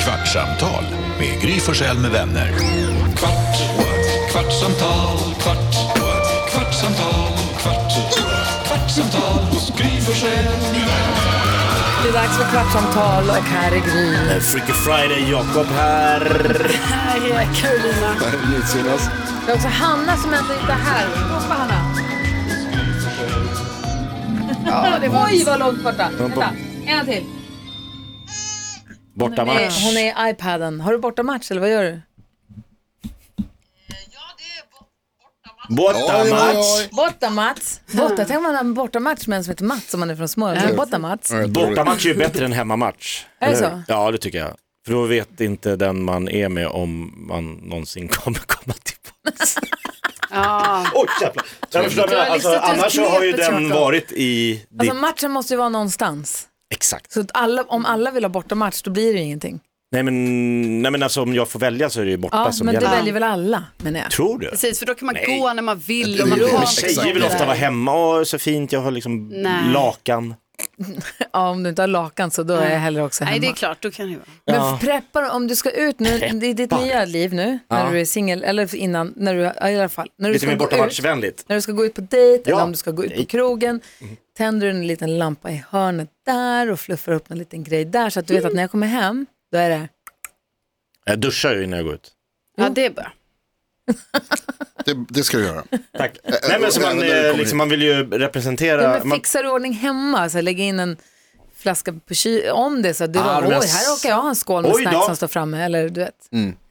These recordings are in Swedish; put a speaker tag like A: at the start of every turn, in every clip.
A: Kvartsamtal med Gry Forssell med vänner. Kvart, kvartsamtal, kvart, kvartsamtal, kvart, kvartsamtal, Gry Forssell med vänner.
B: Det är dags för Kvartsamtal och här är Gry.
C: Freaky Friday, Jakob här.
B: Här är Carolina. Det är också Hanna som ändå inte är här. Hoppa Hanna. Ja, det var... Oj, vad långt borta. Vänta, en till.
C: Borta
B: Nej,
C: match.
B: hon är i iPaden. Har du bortamatch eller vad gör du?
C: Borta match.
B: Borta Mats. Borta, tänk om man har en bortamatch med en som heter Mats om man är från Småland. Äh. Borta Mats.
C: Borta match är ju bättre än hemmamatch.
B: Är det
C: Eller hur?
B: så?
C: Ja, det tycker jag. För då vet inte den man är med om man någonsin kommer komma tillbaka.
D: Ja,
C: Oj, jävlar. Jag förstår vad jag menar. Alltså,
B: Du har listat ut
C: annars så har ju
B: knepet,
C: den
B: Jakob.
C: varit i ditt...
B: Alltså matchen måste ju vara någonstans.
C: Exakt.
B: Så att alla, om alla vill ha bortamatch då blir det ju ingenting.
C: Nej men, nej men alltså om jag får välja så är det ju borta
B: Ja,
C: som
B: men det
C: gäller.
B: väljer väl alla menar jag.
C: Tror du?
D: precis för då kan man
C: Nej.
D: gå när man vill. Och man
B: Jo, men
D: kommer.
C: Tjejer vill ofta vara hemma, och så fint, jag har liksom
D: Nej.
C: lakan.
B: Ja, om du inte har lakan så då är jag hellre också hemma.
D: Nej, det är klart, då kan det vara.
B: Men preppar om du ska ut nu i ditt nya liv nu när du är singel eller innan när du ja, i alla fall när du
C: Lite
B: ska
C: mer
B: gå ut,
C: bortamatchvänligt.
B: när du ska gå ut på dejt eller
C: Ja. Mm.
B: om du ska gå ut på krogen tänder du en liten lampa i hörnet där och fluffar upp en liten grej där så att du vet att när jag kommer hem då är det
C: Jag duschar ju innan jag går ut.
D: Ja, det är bra.
E: Det, det ska du göra.
C: Tack. Nej, men så
E: även
C: man,
E: när du
C: eh,
E: kommer
C: liksom,
E: hit.
C: man vill ju representera.
B: ja, men
C: man,
B: fixar du ordning hemma så här, lägger in en flaska på ky- om det så att du
C: Ah,
B: bara,
C: du menar
B: oj här råkar jag ha en skål med
C: Oj då. Mm.
B: snacks som står framme eller du vet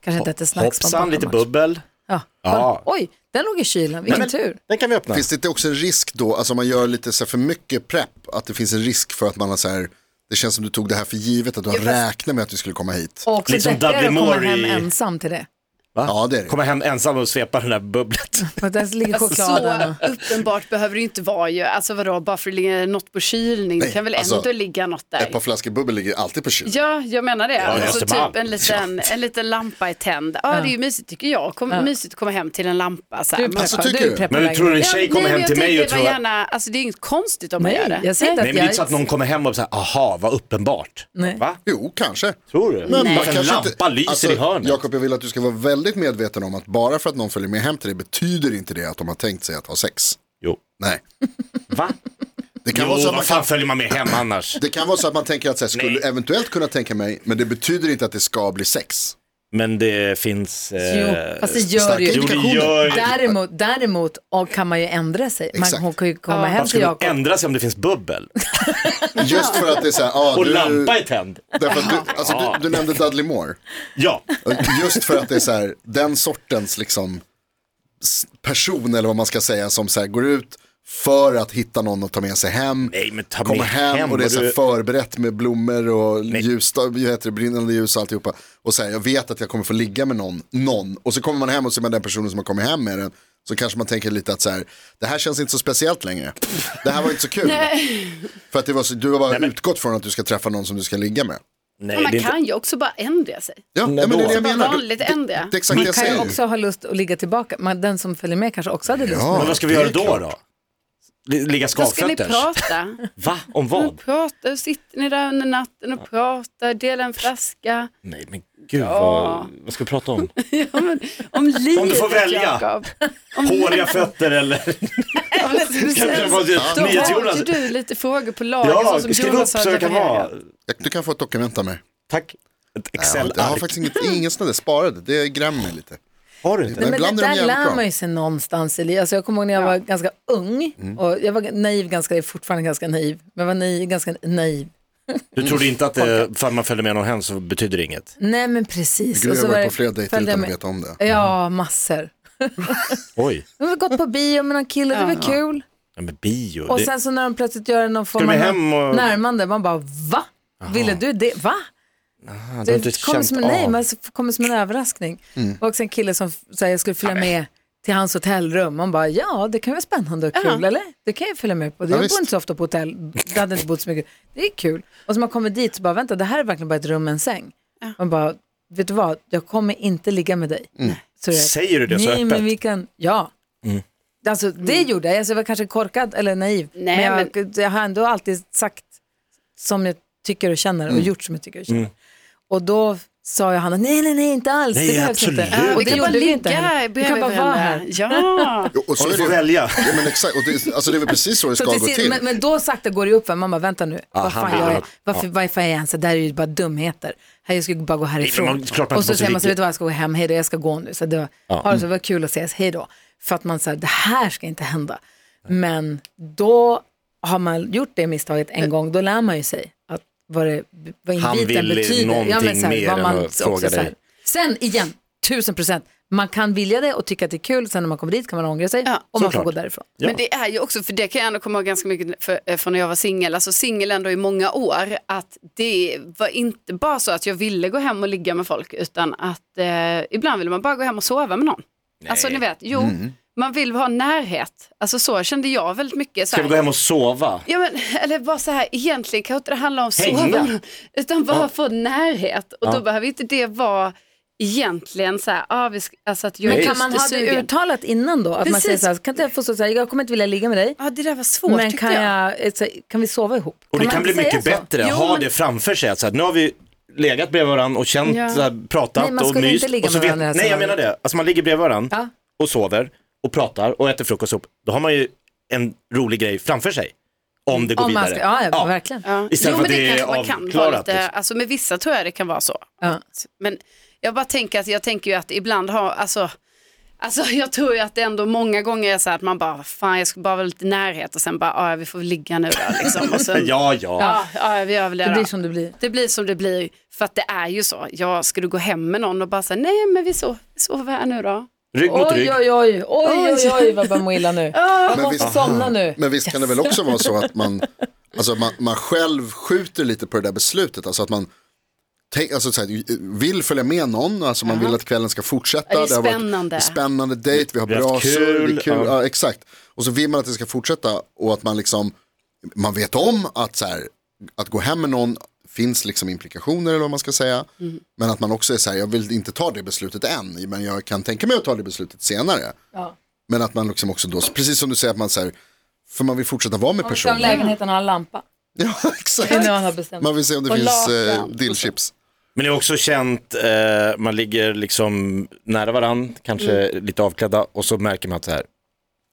B: kanske inte äter snacks på en
C: hoppsan, lite
B: bortamatch.
C: bubbel.
B: ja.
C: Ja.
B: Oj den låg i kylen vilken tur
C: Den kan vi öppna.
E: Finns det inte också en risk då, alltså om man gör lite så här för mycket prepp, att det finns en risk för att man har så här, det känns som du tog det här för givet, att du har
B: Ja, fast-
E: räknat med att du skulle komma hit.
B: Och också
C: Lite som
B: deppigare att
C: Dudley
B: komma
C: Moore
B: hem
C: i-
B: ensam till det.
C: Va?
E: Ja, det är det.
C: Komma hem ensam och svepa den där bubblet.
B: För att där ligger chokladen.
D: Så
B: och-
D: uppenbart behöver det ju inte vara ju. Alltså vadå, bara för att det ligger något på kylning, det
E: Nej,
D: kan väl
E: alltså,
D: ändå ligga något
E: Ett par
D: där.
E: flaskor bubbel ligger alltid på kylen.
D: Ja, jag menar det. alltså
C: Östermalm.
D: typ en liten, en liten lampa är tänd. Ja, det är ju mysigt tycker jag. Kom, Mysigt att komma hem till en lampa. Så här.
B: Du
E: Alltså,
B: preppar-
E: tycker du?
B: preppar
C: Men du
B: lägenheten.
C: tror en tjej kommer hem till mig och tror...
D: tror gärna, alltså det är inget konstigt om man gör
B: Nej,
D: det.
B: jag säger inte
C: Nej,
B: att
C: men det är inte så att
B: jag...
C: någon kommer hem och säger, aha, vad uppenbart.
B: Nej.
C: Va?
E: Jo, kanske.
C: Tror du? Men
E: Man
C: en
E: kanske
C: lampa
E: inte-
C: lyser
E: alltså,
C: i hörnet.
E: Jakob, jag vill att du ska vara väldigt medveten om att bara för att någon följer med hem till dig betyder inte det att de har tänkt sig att ha sex.
C: Jo.
E: Nej.
C: Va?
E: Det kan,
C: Jo,
E: vara så att man
C: vad fan
E: kan,
C: följer man med hem annars?
E: det kan vara så att man tänker att så här, skulle
C: Nej.
E: eventuellt kunna tänka mig, men det betyder inte att det ska bli sex.
C: Men det finns...
B: Jo,
C: Eh...
B: fast det gör det
C: Jo,
B: ju.
C: det gör ju...
B: Däremot, däremot och kan man ju ändra sig. Man,
E: Exakt.
B: hon kan ju komma hem
C: Varför
B: till
C: ska man
B: Jakob.
C: ändra sig om det finns bubbel?
E: Just för att det är så här, ja,
C: Och
E: du-
C: lampa Ah. är tänd?
E: Därför att du, alltså, du, du nämnde Dudley Moore.
C: Ja.
E: Och Just för att det är så här, den sortens liksom s- person eller vad man ska säga som så här, går ut för att hitta någon att ta med sig hem.
C: Nej, men ta
E: Kommer
C: med alltså-
E: hem, och det är så här,
C: du-
E: förberett med blommor och ljus, vad heter det, brinnande ljus och alltihopa. Och så här, jag vet att jag kommer få ligga med någon, någon. Och så kommer man hem och så är man den personen som har kommit hem med den. Så kanske man tänker lite att så här, det här känns inte så speciellt längre. Det här var inte så kul. För att det var så, du har bara utgått från att du ska träffa någon som du ska ligga med.
C: Nej,
D: Men man
C: det är
D: kan ju också bara ändra sig.
E: Ja,
C: Nej,
E: nej, men det är det jag
D: då.
E: menar.
D: Vanligt
E: Det-
D: ändå.
E: Det, det är exakt det
B: Man
E: jag
B: kan ju
E: säger.
B: också ha lust att ligga tillbaka. Man, den som följer med kanske också hade lust.
E: Ja.
C: Men vad ska vi
E: det är
C: göra då då? Li- Ligga
D: Då ska ni
C: skavfötters?
D: prata. Mm.
C: Va? Om
D: Nu
C: vad?
D: pratar, sitter ni där under natten och pratar, delar en flaska.
C: Nej men gud
D: Ja.
C: vad, vad ska vi prata om?
D: Ja, men, om livet,
C: Om du får välja.
D: Jakob. Om
C: Håriga fötter eller? Kanske
D: livet.
C: vad-
D: Då har
C: Nyhets-Jonas?
D: ju du lite frågor på lager.
C: Ja,
D: så som
C: skriv upp
D: Jonas
C: så
D: har
C: jag kan ha.
D: levererat.
E: Du kan få ett dokument av mig.
C: Tack. Ett
E: Jag har- jag har
C: Excel-ark.
E: faktiskt inget, ingen sån där sparad, det grämmer mig lite.
C: Har du inte?
B: Nej,
E: Men
B: men
E: ibland
B: det
E: är de
B: där
E: jävligt
B: lär
E: bra.
B: man ju sig någonstans i livet. Alltså jag kommer ihåg när jag var ganska ung
E: Mm.
B: och jag var naiv, ganska, fortfarande ganska naiv, men jag var naiv, ganska naiv.
C: Du trodde inte att det, för man följde med någon hem så betyder det inget?
B: Nej men precis.
E: Gry
B: Och
E: har
B: så var
E: varit
B: det-
E: på flera dejter
B: följde jag
E: utan att
B: med-
E: veta om det.
B: Ja, massor.
C: Oj,
B: De har gått på bio med någon kille, det var kul.
C: ja, men bio.
B: Och
C: det-
B: sen så när de plötsligt gör någon
C: Ska
B: form
C: de
B: av
C: hem och-
B: närmande, man bara va? Ville du det? Va?
C: ah, du har inte
B: Det kommer
C: känt
B: som, en, nej,
C: av. Mm.
B: men alltså, kommer som en överraskning. Och också en kille som säger jag skulle följa med till hans hotellrum. Man bara, ja det kan vara spännande och kul, eller? Det kan jag följa med på. Jag bor
E: visst.
B: inte så ofta på hotell, jag hade inte bott så mycket. Det är kul. Och så man kommer dit så bara, vänta det här är verkligen bara ett rum med en säng. Man bara, vet du vad, jag kommer inte ligga med dig.
C: Mm.
B: Så jag-
C: Säger du det så
B: nej,
C: öppet?
B: Men vi kan, ja.
C: Mm.
B: Alltså det gjorde jag, alltså, jag var kanske korkad eller naiv.
D: Nej,
B: men jag, jag har ändå
C: Mm.
B: alltid sagt som jag tycker och känner och gjort som jag tycker och känner. Och då sa ju han att nej, nej, nej, inte alls.
C: Nej,
B: det behövs
C: absolut.
B: inte.
D: Vi
B: Och det
D: kan bara
B: gjorde vi
D: ligga
B: inte heller.
D: här
B: Vi kan
D: bredvid
B: bara vara här.
D: varandra. Ja.
E: Jo, och så
C: Om
E: är
C: du får
E: det,
C: välja.
E: ja, men exakt, och det, alltså det är väl precis så det
B: Så
E: ska
B: till
E: gå
B: sist,
E: till.
B: men, men då sakta går det upp för man bara vänta nu, vad
C: Ah, han ah.
B: fan
C: vill
B: gör jag?
C: ha-
B: Varför, varför är jag ens där? Det här är ju bara dumheter. Här jag ska bara gå härifrån.
C: Nej, men man- klart man
B: och
C: inte
B: så
C: måste
B: säger man så
C: ligga.
B: vet du vad jag ska gå hem, hej då, jag ska gå nu. Så det var, ha det så, vad kul att ses, hej då. För att man säger det här ska inte hända. Men då har man gjort det misstaget en gång, då lär man ju sig att vad, det, vad
C: Eh. Han
B: inviten
C: vill
B: betyder.
C: någonting
B: så här,
C: mer
B: vad
C: än
B: man
C: att
B: också
C: fråga
B: så här.
C: dig.
B: Sen igen, tusen procent. Man kan vilja det och tycka att det är kul, sen när man kommer dit kan man ångra sig
D: Ja,
B: och man får
C: såklart.
B: gå därifrån.
C: Ja.
D: Men det är ju också, för det kan jag ändå komma ihåg ganska mycket för, eh, från när jag var singel, alltså singel ändå i många år, att det var inte bara så att jag ville gå hem och ligga med folk, utan att eh, ibland ville man bara gå hem och sova med någon. Alltså ni vet, jo,
C: Mm.
D: man vill ha närhet. Alltså så kände jag väldigt mycket. Så
C: Ska vi gå
D: här.
C: hem och sova?
D: Ja, men, eller bara så här, egentligen kan inte det handla om
C: Hänga.
D: sova, utan bara
C: Ja.
D: få närhet. Och
C: Ja.
D: då behöver inte det vara egentligen så här, ah, vi ska, alltså att jag
B: Men
D: är
B: kan man ha det
D: sugen.
B: uttalat innan då? Att man
D: Precis.
B: säger så här, kan inte jag få så så här, jag kommer inte vilja ligga med dig,
D: Ja, det där var svårt
B: men
D: tyckte
B: kan,
D: jag.
B: jag. eh, så här, kan vi sova ihop?
C: Och det
B: man
C: kan bli
B: inte
C: mycket
B: säga så?
C: bättre,
D: Jo,
C: ha
D: men-
C: det framför sig. Så att nu har vi legat bredvid varandra och känt,
D: Ja.
C: så här, pratat
B: Nej, man
C: och
B: skulle
C: myst.
B: inte ligga
C: och så
B: med varandra i det här
C: nej, jag menar
B: sammanhanget.
C: det. Alltså man ligger bredvid varandra
B: Ja.
C: och sover och pratar och äter frukost upp. Då har man ju en rolig grej framför sig. Om det går
B: Om man
C: vidare.
B: ska, ja, ja, verkligen.
D: Ja.
C: Istället för att det är
D: kanske man kan vara
C: avklarat,
D: lite,
C: liksom.
D: alltså med vissa tror jag det kan vara så. Alltså,
B: Ja.
D: Men jag bara tänker att jag tänker ju att ibland har, alltså, alltså jag tror ju att det ändå många gånger är så här att man bara, fan jag skulle bara vara lite närhet och sen bara, "Ah, ja vi får väl ligga nu då liksom. Och sen, ja.
C: Ja, ja.
D: Ja, ja, vi gör väl det,
B: Det blir
D: då.
B: som det blir.
D: det blir som det blir, för att det är ju så. Ja, ska du gå hem med någon och bara säga, nej men vi sover, vi sover här nu då.
C: Rygg mot rygg.
B: Oj, oj, oj, oj, oj, oj, vad man mår illa nu.
E: Men
B: Jag
E: visst-
B: måste somna nu.
E: Men visst kan det väl också vara så att man, alltså man, man själv skjuter lite på det där beslutet. Alltså att man tänk, alltså så här, vill följa med någon, alltså man vill att kvällen ska fortsätta.
D: Ja, det är
E: har varit
D: spännande.
E: spännande dejt, vi har
C: Vi har
E: bra
C: haft kul,
E: surr, det är kul.
C: ja.
E: Ja. exakt. Och så vill man att det ska fortsätta och att man liksom, man vet om att så här, att gå hem med någon finns liksom implikationer eller vad man ska säga.
B: Mm.
E: Men att man också är så här, jag vill inte ta det beslutet än, men jag kan tänka mig att ta det beslutet senare.
B: Ja.
E: Men att man liksom också då, precis som du säger, att man säger, för man vill fortsätta vara med
B: Om vi ska ha
E: personen.
B: lägenheten och ha en lampa.
E: Ja,
B: Det är nu
E: exakt.
B: han har bestämt.
E: Man vill se om det
B: Och
E: finns eh,
B: lakan.
E: dillchips.
C: Men det är också känt, eh, man ligger liksom nära varandra, kanske
B: Mm.
C: lite avklädda och så märker man att så här,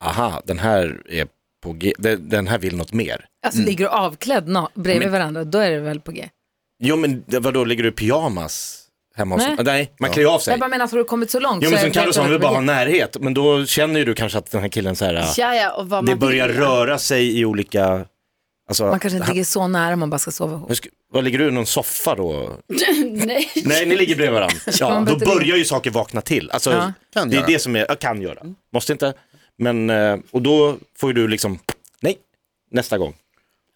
C: aha, den här är på G, den, den här vill något mer.
B: Alltså ligger du avklädd na- bredvid varandra, då är det väl på G.
C: Jo men det- vadå, ligger du i pyjamas hemma hos
B: Nej.
C: Nej, Nej man klär ju av sig.
B: Jag bara menar, att har du kommit så långt
C: Jo men som
B: det verkligen
C: Carro sa, man vill
B: på
C: bara ha
B: G.
C: närhet, men då känner ju du kanske att den här killen så här, eh,
D: Ja, ja, och vad
C: det
D: man
C: börjar
D: vill.
C: röra sig i olika, alltså,
B: Man kanske inte ligger så nära man bara ska sova ihop.
C: hur ska- vad ligger du i någon soffa då?
D: Nej.
C: Nej, ni ligger bredvid varandra. Ja,
B: man
C: då
B: börjar inte
C: börjar ju saker vakna till. Alltså,
B: Ja.
E: Kan
C: det är
E: göra. Mm.
C: det som är, jag kan göra, måste inte. Men, eh, och då får ju du liksom, nej, nästa gång,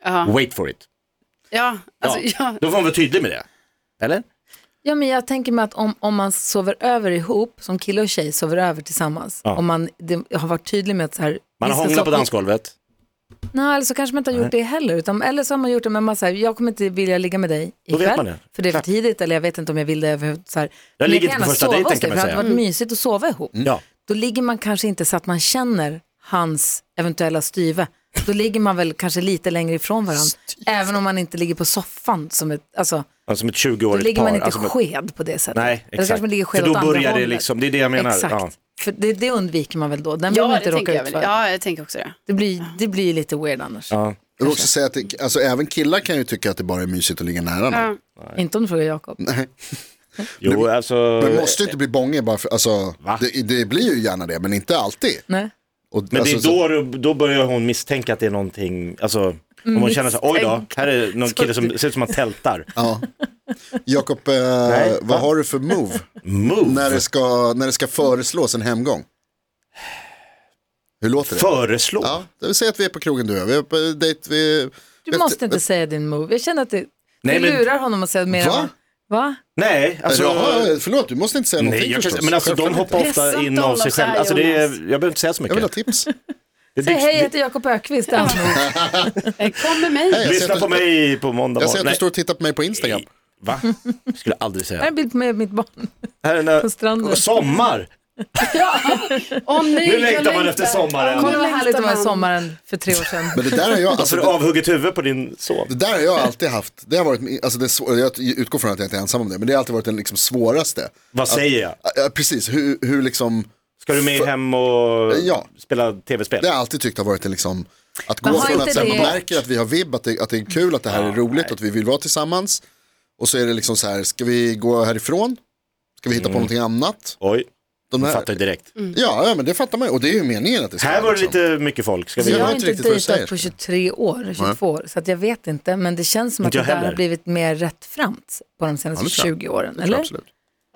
D: Ja,
C: wait for it.
D: ja,
C: Ja.
D: alltså, ja.
C: Då får man vara tydlig med det. Eller?
B: Ja, men jag tänker mig att om, om man sover över ihop, som kille och tjej sover över tillsammans,
C: Ja.
B: om man det, har varit tydlig med att så här,
C: Man
B: vi
C: har
B: ska
C: hånglat på
B: sova-
C: dansgolvet.
B: Nej, eller så kanske man inte har gjort det heller. Utan, eller så har man gjort det, men man säger, jag kommer inte vilja ligga med dig
C: Då vet
B: ikväll,
C: man det.
B: för det är för
C: Klart.
B: tidigt, eller jag vet inte om jag vill det överhuvudtaget. så här. Men
C: ligger
B: kan
C: inte på
B: gärna
C: första
B: sova
C: dejten,
B: hos dig,
C: kan man
B: för Det
C: säga. Mm.
B: hade varit mysigt att sova ihop.
C: Ja.
B: Då ligger man kanske inte så att man känner hans eventuella styve. Då ligger man väl kanske lite längre ifrån varandra, även om man inte ligger på soffan som ett, alltså,
C: Ja, Som ett
B: då
C: 20-årigt
B: ligger
C: par.
B: man inte
C: alltså, men-
B: sked på det sättet.
C: Nej,
B: Eller kanske
C: exakt.
B: man ligger sked
C: För då
B: åt andra
C: börjar det
B: hållet.
C: liksom, det är det jag menar.
B: Exakt.
C: Ja.
B: För det, det undviker man väl då? Den vill man
D: Ja,
B: inte
D: det
B: råka
D: tänker jag
B: ut
D: väl.
B: för.
D: Ja, jag tänker också det.
B: Det, blir, det blir lite weird annars.
C: Ja.
E: Jag vill också säga att det, alltså, även killar kan ju tycka att det bara är mysigt att ligga nära någon.
B: Inte om du frågar Jakob.
C: Jo, alltså,
E: Men måste ju inte bli bånge bara för, alltså,
C: Va?
E: det, det blir ju gärna det, men inte alltid.
B: Nej.
E: Och,
C: men det
E: alltså,
C: är då, du- då börjar hon misstänka att det är någonting, alltså, om
B: Mm,
C: hon känner så här, oj då, här är någon kille som ser ut som han tältar.
E: ja. Jakob, eh,
C: Nej.
E: vad har du för move
C: Move!
E: när det, ska, när det ska föreslås en hemgång? Hur låter det?
C: Föreslå!
E: Ja, det vill säga att vi är på krogen du och jag, vi är på dejt, vi...
B: Du måste inte säga din move. Jag känner att du,
C: Nej,
B: du
C: men-
B: lurar honom att säga mer.
E: Va?
B: än- Va?
C: Nej, alltså...
E: Jaha, förlåt, du måste inte säga någonting
C: Nej, jag kan,
E: förstås.
C: men alltså de
E: Självklart
C: hoppar
E: inte.
D: Pressa
C: ofta
D: inte
C: in av sig
D: Olof så
C: själva.
D: här,
C: Alltså, det är,
D: Jonas.
C: jag behöver inte säga så
E: Jag vill ha
C: mycket.
E: tips.
C: Det
B: Säg
C: dyks-
B: hej, jag heter Jakob Ökvist. Det är hans move.
D: Eh, Kom med mig.
E: Hej, jag ser
C: Lyssna
E: att
C: på
E: du-
C: mig på måndag
E: Jag ser att
C: morgon.
E: du står och tittar på mig på Instagram.
C: Nej, Va? Skulle jag aldrig
B: Här är
C: säga.
B: en bild med mitt barn.
C: Här är
B: På stranden.
C: en, sommar!
D: Om ni
C: Nu längtar man efter sommaren.
B: Kommer det var
D: längtar
B: härligt den här
D: man.
B: sommaren för tre år sedan.
E: Men det där har jag, alltså,
C: Alltså
E: det,
C: avhugget huvud på din son.
E: det där har jag alltid haft, det har varit, min- alltså, det, är svår- jag utgår från att jag inte är ensam om det, men det har alltid varit den liksom, svåraste.
C: Vad säger jag?
E: Ja, precis, hur, hur liksom,
C: Ska du med hem och
E: Ja.
C: spela tv-spel?
E: det har jag alltid tyckt har varit en liksom, att gå
B: Men har
E: från
B: inte
E: att så här, man
B: det-
E: märker att vi har vibb, att det, att det är kul, att det här är roligt, att vi vill vara tillsammans. Och så är det liksom så här, ska vi gå härifrån? Ska vi hitta på någonting annat?
C: Oj,
E: De
C: Mm. du
E: här,
C: fattar ju direkt.
B: Mm.
E: ja, ja, men det fattar man ju. Och det är ju meningen att det ska
C: Här
E: vara,
C: var det
E: liksom.
C: lite mycket folk. Ska vi...
E: Ja.
B: Jag har
E: inte
B: inte
E: riktigt vad du säger,
B: dejtat på 23 år, 22 år, så att jag vet inte. Men det känns som att
C: Inte
B: det
C: jag
B: där har
C: heller.
B: blivit mer rättframt på de senaste
E: Ja, det tror jag.
B: 20 åren,
E: Ja,
B: eller?
E: Absolut.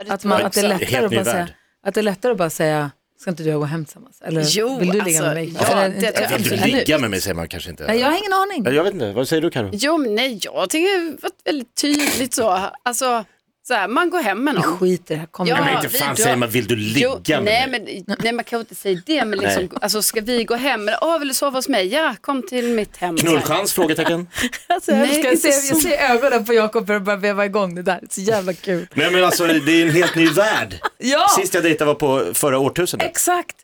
B: Att, man, att, det är
D: Exakt.
B: lättare
C: Helt
B: att
C: ny
B: bara säga,
C: värld.
B: att det är lättare att bara säga, ska inte du och jag gå hem tillsammans? Eller
D: Jo,
B: vill du ligga med
D: alltså,
B: mig?
D: ja,
B: Eller,
D: det
B: inte-
D: tror jag
C: Vill du
D: Absolut.
C: ligga med mig säger man kanske inte.
B: Nej, jag har ingen aning.
C: Jag vet inte, vad säger du Karo?
D: Jo, men nej, jag tycker det var väldigt tydligt så. Alltså, så här, man går hem med
B: Vi
D: någon.
B: skiter i det här, kom
D: Ja,
C: Nej,
B: igen.
C: men inte
D: vi
C: fan
D: drar-
C: säger man vill du ligga
D: Jo,
C: med
D: nej,
C: mig?
D: men, nej, man kan ju inte säga det, men liksom, alltså, ska vi gå hem? Eller, åh, vill du sova hos mig? Ja, kom till mitt hem.
C: Knullchans? Frågetecken.
B: Alltså, jag,
D: Nej,
B: älskar, jag, ser,
D: inte så.
B: jag ser ögonen på Jakob för att börja veva igång det där, det är så jävla kul.
C: Nej men alltså det är en helt ny värld.
B: Ja!
C: Sist jag dejtade var på förra årtusendet.
B: Exakt.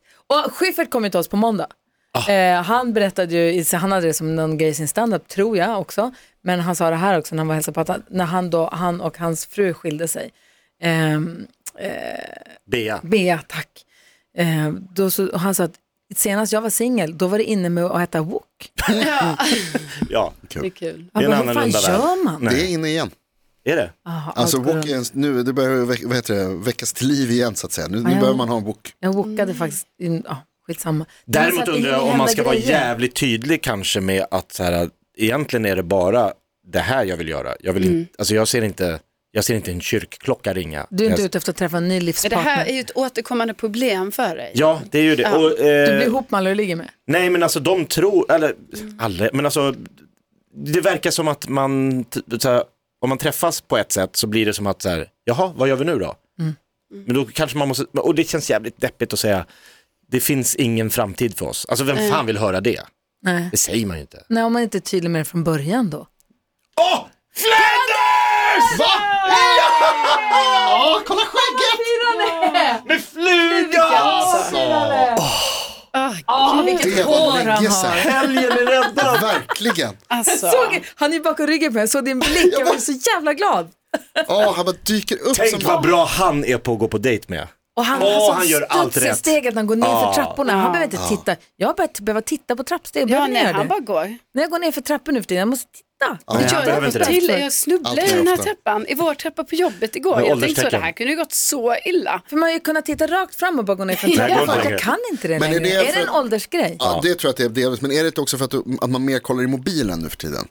B: Och Schyffert kom ju till oss på måndag.
C: Ah.
B: Eh, han berättade ju, i- han hade det som någon grej i sin standup, tror jag också. Men han sa det här också när han var och hälsade på att han, när han, då, han och hans fru skilde sig. Ehm,
C: Bea.
B: Bea, tack. Eh, då så, och han sa att senast jag var singel, då var det inne med att äta wok.
C: Ja,
D: Det är kul.
B: Jag
C: Det
B: bara, Vad
C: är en
B: fan
C: annorlunda värld."
B: gör man?
E: Det är inne igen.
C: är det?
B: Aha,
E: Alltså
B: allt går
E: wok
B: runt.
E: är en, nu det börjar väck, vad heter det, väckas till liv igen så att säga. Nu, nu
B: ja.
E: behöver man ha en wok.
B: jag wokade faktiskt, in, ja, skitsamma. Det är så
C: Däremot
B: att det
C: undrar jag
B: hinner
C: om man
B: hända
C: ska vara
B: grejer.
C: jävligt tydlig kanske med att så här, egentligen är det bara det här jag vill göra. Jag, vill inte, alltså, jag, ser, inte, jag ser inte en kyrkklocka ringa.
B: Mm. Du är inte
C: jag,
B: ute efter att träffa en ny
D: Men Det
B: livspartner.
D: här är ju ett återkommande problem för dig.
C: Ja, det är ju det. Och,
B: Du blir
C: eh,
B: ihop med alla du ligger med.
C: nej men alltså de tror, eller alla, men alltså det verkar som att man, t- så här, om man träffas på ett sätt så blir det som att så här, jaha, vad gör vi nu då?
E: Mm.
C: Men då kanske man måste, och det känns jävligt deppigt att säga, det finns ingen framtid för oss. Alltså vem
E: Eh.
C: fan vill höra det?
B: Nej.
C: Det säger man ju inte.
B: Nej, om man inte är tydlig med det från början då.
C: Åh! Flanders! Va?
E: Ja, kolla skägget!
C: Med fluga!
D: Alltså. Åh, gud.
E: Det
B: hår
E: var
B: han
E: länge
B: har.
E: sedan.
C: Helgen är räddad!
E: Verkligen.
D: Alltså.
B: Såg, han är ju bakom ryggen på mig, jag såg din blick, jag blev så jävla glad.
E: Ja, han bara dyker upp som
C: Tänk vad bra han är på att gå på dejt med.
B: Och han,
C: Åh,
B: sån
C: han gör allt
B: studs i
C: rätt. Ah.
B: steget när han går ner för trapporna, han behöver
E: Ah.
B: inte titta. Jag har börjat behöva titta på trappsteg,
D: Ja,
B: behöver ni
D: nej,
B: göra
D: han
B: det?
D: bara går.
B: När jag går ner för trappor nu för tiden, jag måste titta.
C: Nej, han
D: Jag,
C: behöver inte
D: jag,
C: det.
D: till, jag snubblade
E: Allt
D: i
E: mer
D: den här
E: ofta.
D: trappan, i vår trappa på jobbet igår.
C: Med
D: jag tänkte så, det
C: ålderstecken.
D: här kunde ju gått så illa.
B: För man har ju kunnat titta rakt fram och bara gå ner för en
C: Nej, det går
B: trappa.
C: inte
B: Folk, Jag
C: längre.
B: kan inte det
E: Men är
B: längre.
E: det
B: Är det
E: för-
B: en åldersgrej?
E: Ja, det tror jag att det är delvis, men är det inte också för att, du, att man mer kollar i mobilen nu för tiden?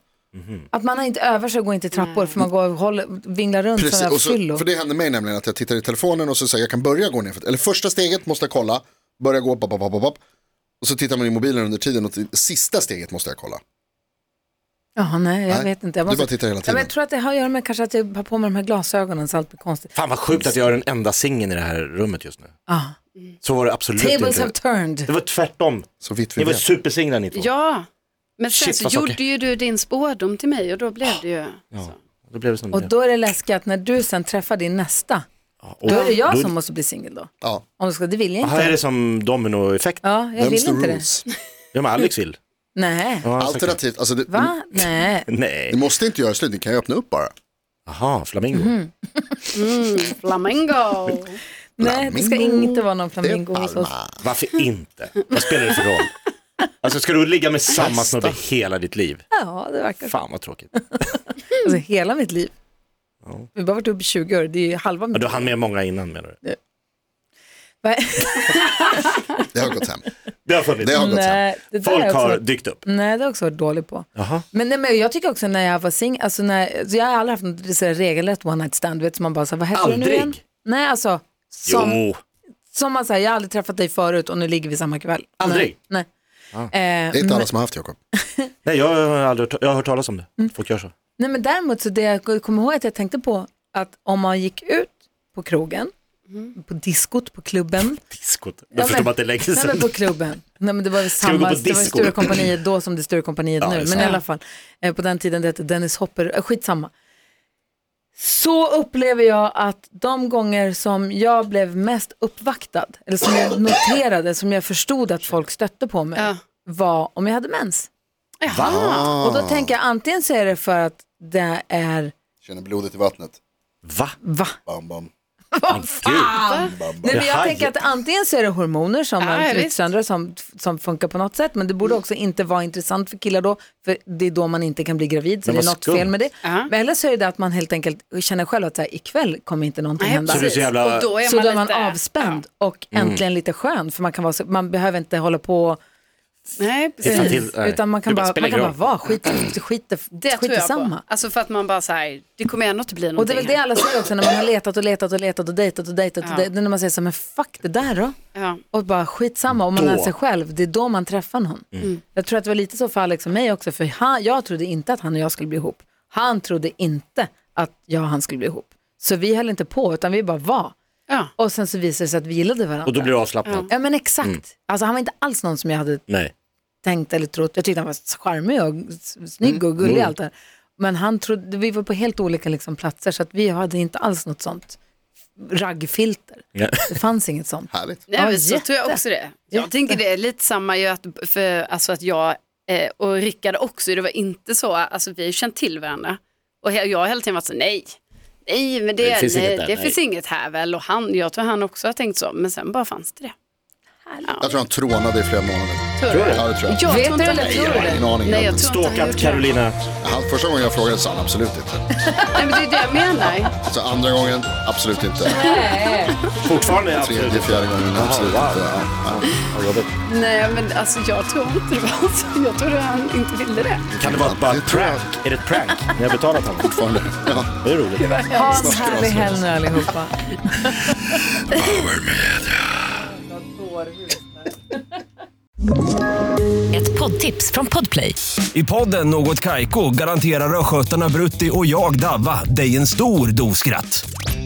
B: Att man inte övar sig och går inte i trappor för man går och håller, vinglar runt som en
E: Mm. och så,
B: fyllo.
E: för det hände mig nämligen att jag tittar i telefonen och så säger jag, jag kan börja gå ner, för, eller första steget måste jag kolla, börja gå, bap, bap, bap, bap, bap. och så tittar man i mobilen under tiden och t- sista steget måste jag kolla.
B: Jaha, nej, jag
E: Nej,
B: vet inte. Jag
E: du bara tittar hela
B: Ja, men
E: tiden.
B: jag tror att det har att göra med kanske att jag har på mig de här glasögonen så allt blir konstigt.
C: Fan vad sjukt att jag är den enda singeln i det här rummet just nu.
B: Ah.
C: Så var det absolut
B: Tables
C: inte.
B: have turned.
C: Det var tvärtom.
E: Så vitt vi
C: Ni var
E: vet.
C: supersinglar ni två.
D: Ja, men sen
C: Shit,
D: så
C: vad saker.
D: gjorde ju du din spådom till mig och då blev det ju...
C: Ja. Då blev det som det
B: Och
C: blev.
B: då är det läskigt att när du sen träffar din nästa, då är det jag som måste bli singel då.
E: Ja.
B: Om du ska, det vill jag
C: Här
B: inte.
C: är det som dominoeffekt.
B: Ja, jag
E: Vems
B: vill
E: the
B: inte det.
E: rules?
C: Ja men Alex vill.
B: Nej.
C: Ja, han har sagt det.
E: Alternativt, alltså, det,
B: Va? Nej.
E: ni
C: Nej.
E: måste inte göra slut, ni kan ju öppna upp bara.
C: Jaha, flamingo.
B: Mhm.
D: mm, Flamingo!
B: Nej, det ska inte vara någon
E: Det
B: flamingo
E: är
B: hos oss.
E: Palma.
C: Varför inte? Vad spelar det för roll? Alltså ska du ligga med samma snubbe hela ditt liv?
B: Ja, det verkar så.
C: Fan vad tråkigt.
B: Alltså, hela mitt liv. Vi har bara varit uppe i 20 år, det är ju halva
C: Ja,
B: mitt
C: du hann med många innan menar du?
B: Va?
E: Det har gått hem.
C: Det har funnits.
E: Det har gått hem.
B: Nej, det där har
C: Folk
B: jag också Mm.
C: har
B: varit,
C: dykt upp.
B: nej, det har jag också varit dålig på.
C: Jaha.
B: Men, nej, men jag tycker också när jag var singel, alltså när, så jag har aldrig haft något så här regelrätt one night stand, du vet, som man bara så här, vad heter du nu
C: Aldrig?
B: igen? Nej, alltså, som,
C: Jo,
B: som man säger, jag har aldrig träffat dig förut och nu ligger vi samma kväll.
C: Aldrig?
B: Nej. nej. Eh,
E: Det är inte alla som har haft Jakob.
C: nej jag har aldrig hört, jag har hört talas om det.
B: Mm.
C: Folk gör så.
B: Nej men däremot så det jag kommer ihåg att jag tänkte på att om man gick ut på krogen, på diskot, på klubben.
C: Diskot.
B: Ja,
C: Jag förstår
B: men-
C: bara att det är länge
B: Nej men
C: sedan.
B: på klubben. Nej men det var väl
C: vi gå
B: samma,
C: på
B: det var ju
C: disco?
B: Stora kompaniet då som det är Stora kompaniet
C: Ja, det
B: nu.
C: är
B: Men
C: sant.
B: i alla fall, eh, på den tiden det hette Dennis Hopper, eh, skitsamma. Så upplever jag att de gånger som jag blev mest uppvaktad, eller som jag noterade, som jag förstod att folk stötte på mig,
D: Ja.
B: var om jag hade mens.
D: Jaha.
C: Ah.
E: Ah.
B: Och då tänker jag antingen så är det för att det är,
E: Känner blodet i vattnet.
F: Va?
B: va?
E: Bam, bam.
B: Vad fan? Nej, men jag tänker att antingen så är det hormoner som
D: Ja,
B: man
D: ja,
B: trycks
D: visst.
B: sönder som, som funkar på något sätt, men det
D: Mm.
B: borde också inte vara intressant för killar då, för det är då man inte kan bli gravid, så
F: Men
B: det är
F: vad
B: något
F: skumt.
B: fel med det.
D: Ja.
B: Men eller så är det att man helt enkelt känner själv att så här, ikväll kommer inte någonting
D: Nej,
B: hända.
F: Så du Mm. är så jävla-
D: Och då är
B: Så
D: man
B: då är man
D: lite...
B: avspänd och äntligen lite skön, för man, kan vara så, man behöver inte hålla på och-
D: Nej, precis.
F: Titta till. Nej.
B: utan man kan
F: Det bara
B: bara,
F: spelar
B: man kan
F: ingen
B: bara
F: roll.
B: vara, skit, skit,
D: Det
B: skit
D: tror jag på.
B: samma.
D: Alltså för att man bara så här, det kommer ändå inte bli
B: Och det är
D: någonting.
B: väl det alla säger också när man har letat och letat och letat och dejtat och dejtat.
D: Ja.
B: Och dejtat, när man säger så här, men fuck det där då.
D: här. Ja.
B: Och bara skitsamma, om man
F: Då. Mm.
B: är sig själv, det är då man träffar någon. Jag tror att det var lite så för Alex och mig också, för han, jag trodde inte att han och jag skulle bli ihop. Han trodde inte att jag och han skulle bli ihop. Så vi höll inte på, utan vi bara var.
D: Ja.
B: Och sen så visade det sig att vi gillade varandra.
F: Och då blir Mm. du avslappnad?
B: Ja men exakt. Alltså han var inte alls någon som jag hade
F: Nej.
B: tänkt eller trott. Jag tyckte han var charmig och s- snygg
F: Mm.
B: och gullig och allt det här. Men han trodde, vi var på helt olika liksom, platser så att vi hade inte alls något sånt raggfilter.
F: Ja.
B: Det fanns inget sånt.
E: Härligt.
D: Nej,
B: Ja,
D: men så
B: jätte.
D: tror jag också det. Jag
B: Jätte.
D: tänker det är lite samma ju att, för, alltså att jag eh, och Rickard också, det var inte så, alltså vi har ju känt till varandra. Och he- jag har hela tiden varit så nej, nej men det,
F: Det finns
D: nej,
F: inget där,
D: det
F: nej."
D: finns inget här väl. Och han, jag tror han också har tänkt så, men sen bara fanns det det.
E: Jag tror han trånade i flera månader.
D: Tror du?
E: Ja, det tror jag.
D: Jag
B: Vet
D: tror
B: du
D: inte han-
B: eller tror du
E: det? Ingen aning.
D: Nej, jag tror inte han
F: Stalkat
D: gjorde det.
F: Carolina.
E: Han, första gången jag frågade sa han absolut inte.
D: Nej, men det är det jag menar.
E: Så andra gången, absolut inte.
F: Fortfarande absolut.
E: Tredje, fjärde gången, absolut
F: wow.
E: inte. Ja, ja.
F: Vad jobbigt.
D: Nej, men alltså jag tror inte det var så. Jag tror att han inte ville det.
F: Kan det vara bara ett
E: Det tror jag.
F: prank? Är det ett prank? Ni har betalat honom?
E: Fortfarande. Ja.
F: Det är roligt.
B: Ha en härlig helg nu allihopa.
G: Ett poddtips från Podplay.
H: I podden Något Kaiko garanterar östgötarna Brutti och jag, Davva, dig en stor dos skratt.